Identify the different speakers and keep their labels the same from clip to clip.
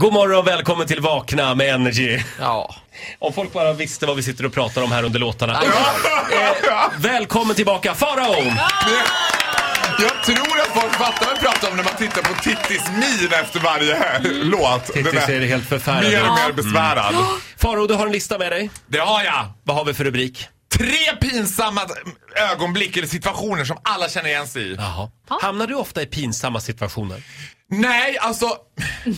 Speaker 1: God morgon och välkommen till Vakna med Energy.
Speaker 2: Ja.
Speaker 1: Om folk bara visste vad vi sitter och pratar om här under låtarna. Eh, välkommen tillbaka, Farao!
Speaker 3: Jag tror att folk fattar vad jag pratar om när man tittar på Tittis min efter varje låt. Den
Speaker 1: Tittis
Speaker 3: är
Speaker 1: är Mm. helt
Speaker 3: mer
Speaker 1: förfärad.
Speaker 3: och mer besvärad.
Speaker 1: Farao, du har en lista med dig.
Speaker 3: Det har jag.
Speaker 1: Vad har vi för rubrik?
Speaker 3: Tre pinsamma ögonblick eller situationer som alla känner igen sig i.
Speaker 1: Jaha. Hamnar du ofta i pinsamma situationer?
Speaker 3: Nej, alltså.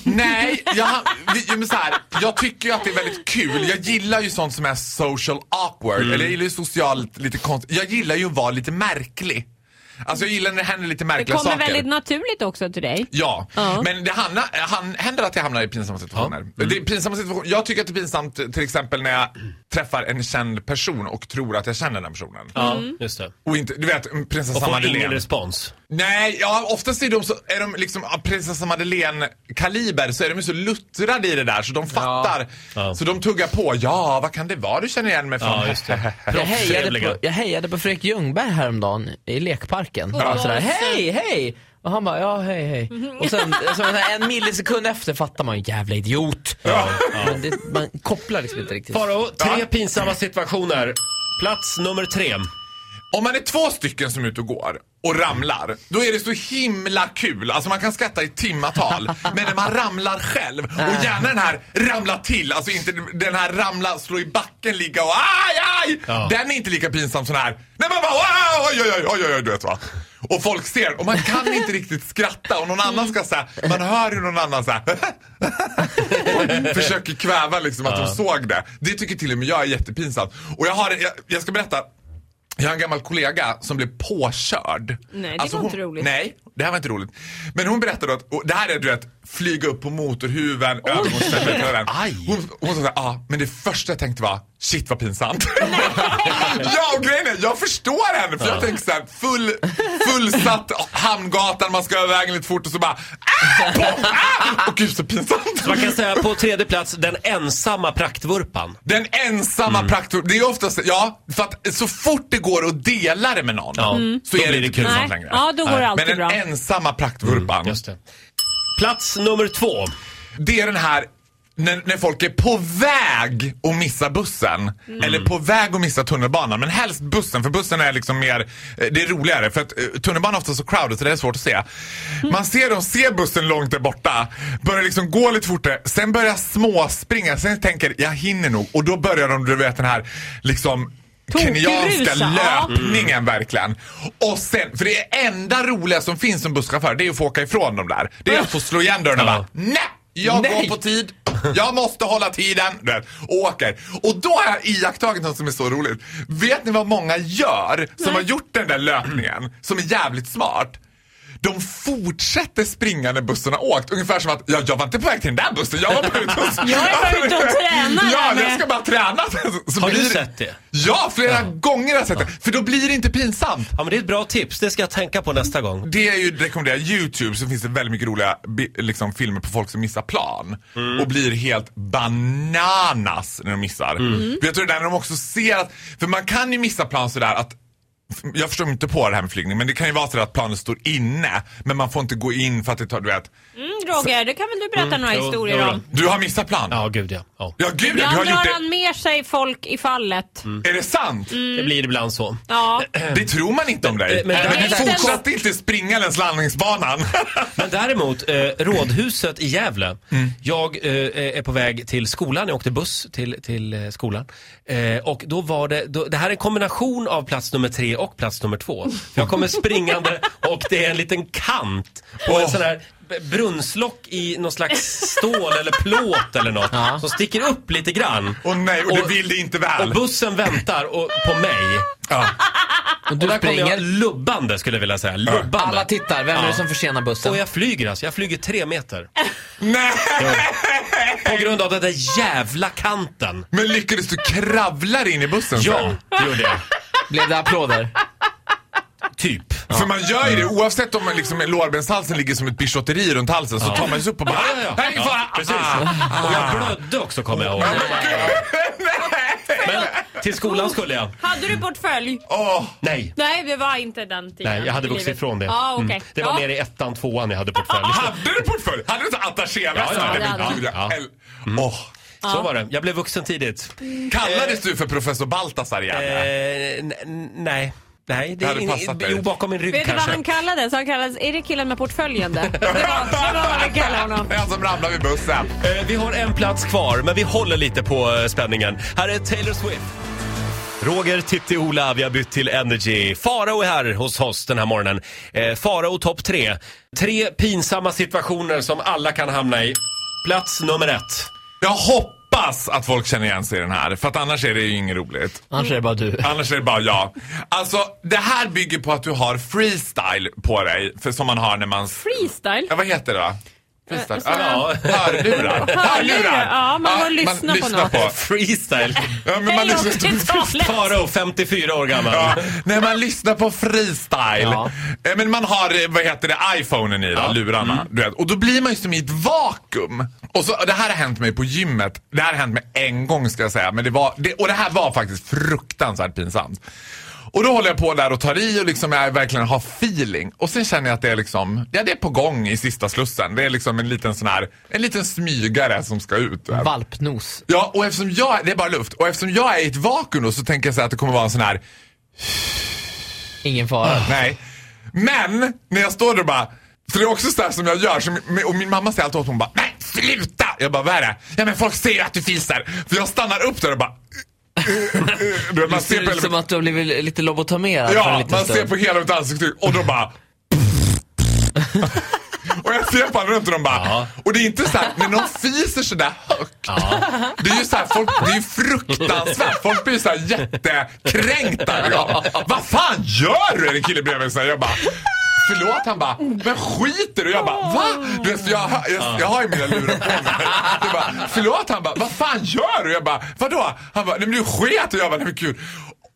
Speaker 3: Nej, jag, vi- jo, men så här, jag tycker ju att det är väldigt kul. Jag gillar ju sånt som är social awkward.
Speaker 1: Mm.
Speaker 3: Eller jag gillar ju socialt lite konstigt. Jag gillar ju att vara lite märklig. Alltså jag gillar när det händer lite
Speaker 4: Det
Speaker 3: märkliga
Speaker 4: kommer
Speaker 3: saker.
Speaker 4: väldigt naturligt också till dig.
Speaker 3: Ja,
Speaker 4: Ja.
Speaker 3: men det hamnar, han, händer att jag hamnar i pinsamma situationer. Det är
Speaker 1: Mm.
Speaker 3: pinsamma situationer. Jag tycker att det är pinsamt till exempel när jag träffar en känd person och tror att jag känner den personen.
Speaker 1: Ja, Mm. just det.
Speaker 3: Och inte, du vet
Speaker 1: Och
Speaker 3: prinsessa
Speaker 1: får ingen
Speaker 3: Madeleine.
Speaker 1: respons.
Speaker 3: Nej, ja, oftast är de, så, är de liksom av prinsessa Madeleine-kaliber så är de ju så luttrade i det där så de fattar.
Speaker 1: Ja.
Speaker 3: Så de tuggar på. Ja, vad kan det vara du känner igen mig från?
Speaker 1: Ja, just det.
Speaker 2: Jag hejade,
Speaker 1: Proffstrevliga.
Speaker 2: på, jag hejade på Fredrik Ljungberg häromdagen i lekparken.
Speaker 4: Ja.
Speaker 2: Bara sådär, hej, hej! Och han bara, ja hej, hej. Och sen så en millisekund efter fattar man, jävla idiot. Men det, man kopplar liksom inte riktigt.
Speaker 1: Farao, tre pinsamma situationer. Plats nummer tre.
Speaker 3: Om man är två stycken som är ute och går och ramlar, då är det så himla kul. Alltså man kan skratta i timmatal. Men när man ramlar själv och gärna den här ramla till, alltså inte den här ramla, slå i backen, ligga och aj, aj!
Speaker 1: Ja.
Speaker 3: Den är inte lika pinsam som den här. Nej man bara "Wow, oj, oj, oj, oj, oj, oj, du vet va. Och folk ser och man kan inte riktigt skratta och någon annan ska säga, man hör ju någon annan säga försöker kväva liksom att de såg det. Det tycker till och med jag är jättepinsamt. Och jag har, jag, jag ska berätta. Jag har en gammal kollega som blev påkörd. Alltså,
Speaker 4: Nej, det var
Speaker 3: hon,
Speaker 4: inte roligt.
Speaker 3: Nej, det här var inte roligt. Men hon berättade att, och det här är du vet, flyga upp på motorhuven, övergångsställen. Hon, hon sa såhär, ja, ah, men det första jag tänkte var, shit vad pinsamt. ja, och grejen är, jag förstår henne. För jag tänker såhär, full, fullsatt hamngatan, man ska över vägen lite fort och så bara, ah, på, ah! Och gud så pinsamt.
Speaker 1: Man kan säga på tredje plats, den ensamma praktvurpan.
Speaker 3: Den ensamma mm. Det är oftast, ja, för att så fort det går att dela det med någon
Speaker 1: Ja, Mm.
Speaker 3: så
Speaker 1: då
Speaker 3: är det
Speaker 1: blir det
Speaker 3: inte
Speaker 1: kul. Mm,
Speaker 3: pinsamt
Speaker 4: Nej.
Speaker 3: längre.
Speaker 4: Ja, då går det
Speaker 3: Men
Speaker 4: alltid
Speaker 3: den
Speaker 4: bra.
Speaker 3: ensamma praktvurpan,
Speaker 1: Just det. Plats nummer två.
Speaker 3: det är den här när, när folk är på väg att missa bussen.
Speaker 4: Mm.
Speaker 3: Eller på väg att missa tunnelbanan. Men helst bussen, för bussen är liksom mer, eh, det är roligare. För att eh, tunnelbanan är ofta så crowded så det är svårt att se.
Speaker 4: Mm.
Speaker 3: Man ser dem se bussen långt där borta. Börjar liksom gå lite fortare. Sen börjar småspringa. Sen tänker jag hinner nog. Och då börjar de, du vet den här liksom kenyanska
Speaker 4: Tokrusa, ja.
Speaker 3: löpningen verkligen. Och sen, för det enda roliga som finns som busschaufför det är att få åka ifrån dem där. Det är att få slå igen dörren och
Speaker 1: Ja.
Speaker 3: bara nej! Jag
Speaker 2: Nej.
Speaker 3: går på tid. Jag måste hålla tiden. Du vet, och åker. Och då har jag iakttagit något som är så roligt. Vet ni vad många gör som har gjort den där löpningen som är jävligt smart? De fortsätter springa när bussen har åkt. Ungefär som att ja, jag var inte på väg till den där bussen. Jag var bara ute och,
Speaker 4: Jag är bara ute och tränar
Speaker 3: Ja, jag
Speaker 4: här med."
Speaker 3: ska bara träna. Så
Speaker 1: Har du
Speaker 3: blir-
Speaker 1: sett det?
Speaker 3: Ja, flera gånger har jag sett det. För då blir det inte pinsamt.
Speaker 1: Ja, men det är ett bra tips. Det ska jag tänka på nästa gång.
Speaker 3: Det är ju rekommenderar Youtube så finns det väldigt mycket roliga bi- liksom, filmer på folk som missar plan. Och blir helt bananas när de missar. Mm. Jag tror det där när de också ser att, för man kan ju missa plan sådär att jag förstår mig inte på det här med flygning men det kan ju vara så att planet står inne men man får inte gå in för att det tar, du vet.
Speaker 4: Mm, Roger, det kan väl du berätta några
Speaker 1: jo,
Speaker 4: historier
Speaker 1: jo då.
Speaker 4: om?
Speaker 3: Du har missat plan?
Speaker 1: Ja, gud ja. ja.
Speaker 3: Ja gud ja,
Speaker 4: Ibland
Speaker 3: du har gjort
Speaker 4: drar
Speaker 3: det. Mm.
Speaker 4: han med sig folk i fallet.
Speaker 3: Är det sant?
Speaker 1: Det blir ibland så.
Speaker 4: Ja.
Speaker 3: Det tror man inte om dig.
Speaker 1: Mm. Men- men-
Speaker 3: Men,
Speaker 4: men-
Speaker 3: du fortsatte inte springa längs landningsbanan.
Speaker 1: Men däremot, eh, Rådhuset i Gävle.
Speaker 2: Mm.
Speaker 1: Jag eh, är på väg till skolan, jag åkte buss till, till eh, skolan. Eh, och då var det, då, det här är en kombination av plats nummer tre och plats nummer två. Jag kommer springande och det är en liten kant på en
Speaker 3: Åh.
Speaker 1: sån här b- brunnslock i någon slags stål eller plåt eller något som sticker upp lite grann.
Speaker 3: Och nej, och,
Speaker 1: Och-
Speaker 3: det vill det inte väl.
Speaker 1: Och bussen väntar och, på mig.
Speaker 3: ja.
Speaker 2: Och
Speaker 1: Och
Speaker 2: du
Speaker 1: där kommer jag
Speaker 2: springer,
Speaker 1: lubbande skulle jag vilja säga. Lubbande.
Speaker 2: alla tittar, vem är det som försenar
Speaker 1: Och
Speaker 2: bussen?
Speaker 1: jag flyger alltså, jag flyger tre meter.
Speaker 3: Nej!
Speaker 1: På grund av den där jävla kanten.
Speaker 3: Men lyckades du kravla dig in i bussen
Speaker 1: Ja,
Speaker 3: sen?
Speaker 1: det gjorde jag.
Speaker 2: Blev det applåder?
Speaker 1: Typ.
Speaker 3: För man gör ju det oavsett om man liksom, lårbenshalsen ligger som ett bichotteri runt halsen så tar man sig upp och bara "Ah, Här är ingen fara!
Speaker 1: Precis. Och jag blödde också kommer jag ihåg.
Speaker 3: Ah.
Speaker 1: Men till skolan skulle jag.
Speaker 4: Hade du portfölj?
Speaker 3: Åh,
Speaker 1: Nej.
Speaker 4: Nej, det var inte den tiden.
Speaker 1: Nej, jag hade
Speaker 4: i
Speaker 1: vuxit
Speaker 4: livet.
Speaker 1: ifrån det.
Speaker 4: Ja, Ah, okej.
Speaker 1: Mm. Det var
Speaker 4: ja.
Speaker 1: nere i ettan, tvåan jag hade portfölj.
Speaker 3: hade du portfölj? Hade du inte attachéväska?
Speaker 1: Ja, ja,
Speaker 3: Nej,
Speaker 4: det
Speaker 3: men
Speaker 4: hade
Speaker 3: gud,
Speaker 1: jag.
Speaker 3: jag
Speaker 1: Ja.
Speaker 3: äl- Åh.
Speaker 1: Så var det. Jag blev vuxen tidigt.
Speaker 3: Kallades du för professor Baltasar i
Speaker 1: Eh,
Speaker 3: Gävle?
Speaker 1: n- n- nej. Nej, det
Speaker 3: hade
Speaker 1: är
Speaker 3: passat
Speaker 1: ingen,
Speaker 3: dig.
Speaker 1: jo, bakom min rygg
Speaker 4: Vet du vad
Speaker 1: kanske.
Speaker 4: han kallades? Han kallades, är det killen med portföljen där? Det var, det var vad vi kallade honom.
Speaker 3: Den som ramlade vid bussen.
Speaker 1: Eh, Vi har en plats kvar, men vi håller lite på eh, spänningen. Här är Taylor Swift. Roger, Titti, Ola, vi har bytt till Energy. Farao är här hos oss den här morgonen. Eh, Farao topp tre. Tre pinsamma situationer som alla kan hamna i. Plats nummer ett.
Speaker 3: Jag hoppas att folk känner igen sig i den här, för att annars är det ju inget roligt.
Speaker 2: Annars är det bara du.
Speaker 3: Annars är det bara jag. Alltså, det här bygger på att du har freestyle på dig, för som man har när man...
Speaker 4: Freestyle?
Speaker 3: Ja, vad heter det då? Freestyle?
Speaker 4: Eh,
Speaker 3: Ja,
Speaker 1: såna-
Speaker 3: hörlurar.
Speaker 4: Hörlurar, ja, man får lyssna på något.
Speaker 1: Freestyle.
Speaker 3: Ja, men man
Speaker 4: Hej,
Speaker 3: lyssnar på
Speaker 4: 80-talet!
Speaker 1: Farao, 54 år gammal.
Speaker 3: Ja, när man lyssnar på freestyle.
Speaker 2: Ja.
Speaker 3: Eh, Men man har, eh, vad heter det, iPhonen i då, lurarna. Du vet. Och då blir man ju som i ett vakuum. Och så, det här har hänt mig på gymmet. Det här har hänt mig en gång ska jag säga. Men det var, det, och det här var faktiskt fruktansvärt pinsamt. Och då håller jag på där och tar i och liksom jag verkligen har feeling. Och sen känner jag att det är liksom, ja det är på gång i sista slussen. Det är liksom en liten sån här, en liten smygare som ska ut. du vet.
Speaker 2: Valpnos.
Speaker 3: Ja, och eftersom jag, det är bara luft. Och eftersom jag är i ett vakuum då så tänker jag så här att det kommer vara en sån här
Speaker 2: Ingen fara.
Speaker 3: Nej. Men när jag står där och bara, för det är också sådär som jag gör, som, och min mamma säger alltid åt mig, hon bara Nej sluta! Jag bara vad är det? Ja men folk ser ju att du fiser. För jag stannar upp där och bara Du vet, man
Speaker 2: Det
Speaker 3: ser
Speaker 2: ser ut som
Speaker 3: på,
Speaker 2: att du har blivit lite lobotomerad för en
Speaker 3: ja,
Speaker 2: liten
Speaker 3: man
Speaker 2: stund.
Speaker 3: ser på hela mitt ansikte och då bara och jag ser på alla runt och de bara...
Speaker 1: Ja.
Speaker 3: Och det är inte så här, när någon fiser sådär högt. Det är ju så här, folk, det är ju fruktansvärt. Folk blir ju så här jättekränkta. Ja. Vad fan gör du? En kille bredvid mig så här, jag bara... Förlåt, han bara, men skiter du? Jag bara, va? Du vet, för jag, hör- jag, jag har ju mina lurar på mig. Jag bara, förlåt, han bara, vad fan gör du? Jag bara, vadå? Han bara, nej men du sket och jag bara, nej men gud.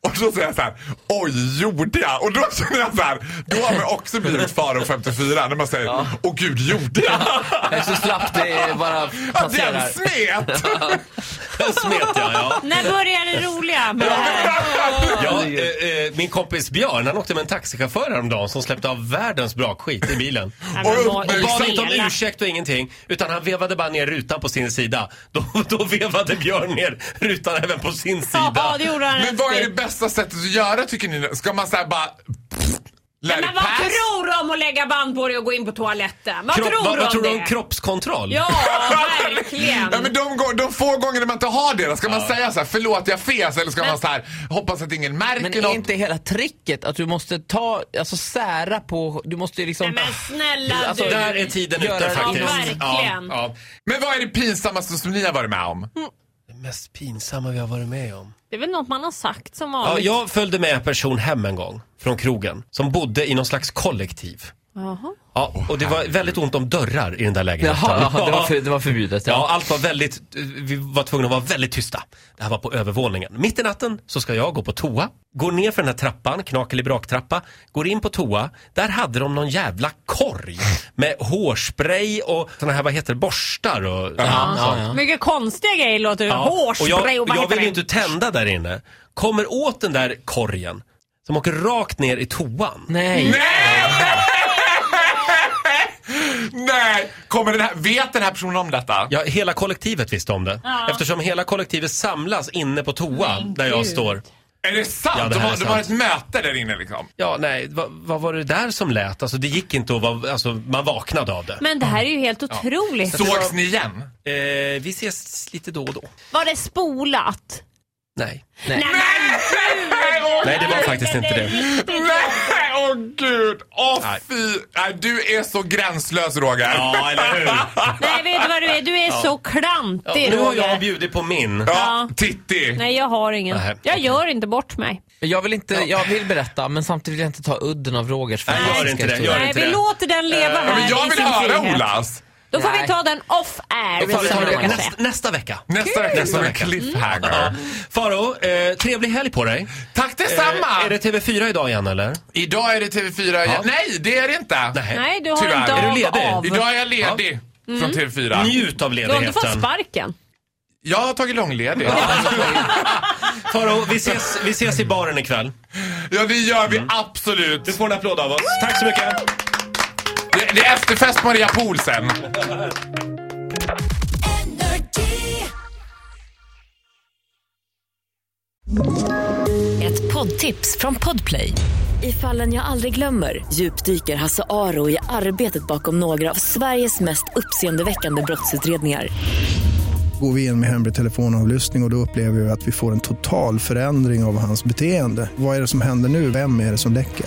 Speaker 3: Och så säger jag så här, oj gjorde jag? Och då känner jag så här, då har man också blivit Farao 54 när man säger, åh gud gjorde jag?
Speaker 2: Nej, så slapp det bara
Speaker 3: Ja, den
Speaker 2: passerar.
Speaker 3: smet!
Speaker 1: Smet jag, ja.
Speaker 4: När börjar det roliga med det här?
Speaker 1: Ja, eh, eh, min kompis Björn han åkte med en taxichaufför häromdagen som släppte av världens brakskit i bilen.
Speaker 4: Nej,
Speaker 3: Och
Speaker 4: men
Speaker 3: upp
Speaker 4: vad
Speaker 3: med
Speaker 4: i
Speaker 1: Bad inte om
Speaker 4: hela-
Speaker 1: ursäkt och ingenting, utan han vevade bara ner rutan på sin sida. Då, då vevade Björn ner rutan även på sin
Speaker 4: Ja,
Speaker 1: sida.
Speaker 4: det gjorde han
Speaker 3: Men vad är
Speaker 4: rätt
Speaker 3: det
Speaker 4: i.
Speaker 3: bästa sättet att göra tycker ni? Ska man säga bara, let it
Speaker 4: Men vad
Speaker 3: pass?
Speaker 4: tror du om att lägga band på dig och gå in på toaletten? Vad
Speaker 1: Kropp,
Speaker 4: tror
Speaker 1: vad,
Speaker 4: du
Speaker 1: vad
Speaker 4: om
Speaker 1: tror du
Speaker 4: det?
Speaker 1: om kroppskontroll?
Speaker 4: Ja, verkligen.
Speaker 3: Ja, men de, gång- de få gånger man inte har det, då ska man säga så här, förlåt jag fes eller ska man så här, hoppas att ingen märker
Speaker 2: Men
Speaker 3: något.
Speaker 2: är inte hela tricket att du måste ta, alltså sära på, du måste ju liksom...
Speaker 4: Nej, men snälla
Speaker 2: Alltså,
Speaker 4: du.
Speaker 1: Där är tiden
Speaker 2: Göra
Speaker 1: ute
Speaker 2: det
Speaker 1: faktiskt.
Speaker 4: verkligen.
Speaker 1: ja.
Speaker 3: Men vad är det pinsammaste som ni har varit med om?
Speaker 1: Det mest pinsamma vi har varit med om.
Speaker 4: Det är väl något man har sagt som
Speaker 1: Ja,
Speaker 4: vanligt.
Speaker 1: jag följde med en person hem en gång från krogen som bodde i någon slags kollektiv.
Speaker 4: Jaha.
Speaker 1: Ja, och det var väldigt ont om dörrar i den där
Speaker 2: Jaha,
Speaker 1: lägenheten.
Speaker 2: jaha, det, var för, det var förbjudet.
Speaker 1: Ja,
Speaker 2: Ja.
Speaker 1: allt var väldigt, vi var tvungna att vara väldigt tysta. Det här var på övervåningen. Mitt i natten så ska jag gå på toa. Går ner för den här trappan, knakelig braktrappa. Går in på toa. Där hade de någon jävla korg med hårspray och såna här, vad heter det, borstar och
Speaker 2: Ja, ja, ja.
Speaker 4: Mycket konstiga grejer låter det.
Speaker 1: och
Speaker 4: Hårspray
Speaker 1: jag,
Speaker 4: och vad
Speaker 1: jag
Speaker 4: heter
Speaker 1: vill ju
Speaker 4: det?
Speaker 1: inte tända där inne. Kommer åt den där korgen som åker rakt ner i toan.
Speaker 2: Nej.
Speaker 3: Nej! Kommer den här, vet den här personen om detta?
Speaker 1: Ja, hela kollektivet visste om det.
Speaker 4: Ja.
Speaker 1: Eftersom hela kollektivet samlas inne på toa
Speaker 4: Men
Speaker 1: där jag
Speaker 4: gud.
Speaker 1: står.
Speaker 3: Är det sant?
Speaker 1: Ja, det
Speaker 3: de,
Speaker 1: här
Speaker 3: har,
Speaker 1: är
Speaker 3: de har ett
Speaker 1: sant.
Speaker 3: möte där inne liksom.
Speaker 1: Ja, nej, vad, vad var det där som lät? Alltså det gick inte att vara, alltså man vaknade av det.
Speaker 4: Men det här är ju helt otroligt. Alltså,
Speaker 3: Sågs ni igen?
Speaker 1: Eh, vi ses lite då och då.
Speaker 4: Var det spolat?
Speaker 1: Nej.
Speaker 2: Nej.
Speaker 4: Nej, men
Speaker 3: Åh,
Speaker 1: Nej, det var faktiskt inte det.
Speaker 3: Nej, åh gud! Åh fy! Nej, du är så gränslös Roger.
Speaker 1: Ja, eller hur?
Speaker 4: Nej, vet du vad du är? Du är så
Speaker 1: Ja,
Speaker 4: klantig,
Speaker 1: nu har
Speaker 4: Roger.
Speaker 1: jag bjudit på min.
Speaker 3: Ja,
Speaker 4: Ja.
Speaker 3: Titti.
Speaker 4: Nej, jag har ingen.
Speaker 1: Nej,
Speaker 4: jag gör inte bort mig.
Speaker 2: Jag vill inte, jag vill berätta men samtidigt vill jag inte ta udden av Rogers
Speaker 1: Nej, gör
Speaker 2: fantastiska
Speaker 1: inte det,
Speaker 2: historia.
Speaker 1: gör
Speaker 4: Nej,
Speaker 1: inte
Speaker 4: vi
Speaker 1: det. Eh,
Speaker 4: låter den leva
Speaker 3: Ja,
Speaker 4: här
Speaker 3: men jag
Speaker 4: i
Speaker 3: vill
Speaker 4: sin
Speaker 3: höra
Speaker 4: frihet.
Speaker 3: Olas.
Speaker 4: Då får
Speaker 2: Nej.
Speaker 4: vi ta den off air.
Speaker 1: Då tar vi
Speaker 4: som
Speaker 1: ta
Speaker 4: jag
Speaker 1: det
Speaker 4: brukar
Speaker 1: nästa,
Speaker 4: säga.
Speaker 1: nästa vecka.
Speaker 3: Nästa vecka som en
Speaker 1: vecka.
Speaker 3: cliffhanger.
Speaker 1: Faro, eh, trevlig helg på dig.
Speaker 3: Tack detsamma!
Speaker 1: Eh, är det TV4 idag igen eller?
Speaker 3: Idag är det TV4 igen. Nej, det är det inte.
Speaker 4: Nej, du har
Speaker 3: Tyvärr.
Speaker 4: en dag
Speaker 3: Är
Speaker 1: du ledig?
Speaker 4: av.
Speaker 3: Idag är jag ledig
Speaker 4: Mm.
Speaker 3: från TV4.
Speaker 1: Njut av
Speaker 4: Du har inte fått
Speaker 1: ledigheten.
Speaker 4: sparken.
Speaker 3: Jag har tagit långledigt.
Speaker 1: Faro, vi ses, vi ses i baren ikväll.
Speaker 3: Ja, det gör vi absolut.
Speaker 1: Mm. Du får en applåd av oss. Tack så mycket.
Speaker 3: Det, det är efterfest på Maria Pool sen.
Speaker 5: Ett poddtips från Podplay. I fallen jag aldrig glömmer djupdyker Hasse Aro i arbetet bakom några av Sveriges mest uppseendeväckande brottsutredningar.
Speaker 6: Går vi in med hemlig telefonavlyssning och, och då upplever vi att vi får en total förändring av hans beteende. Vad är det som händer nu? Vem är det som läcker?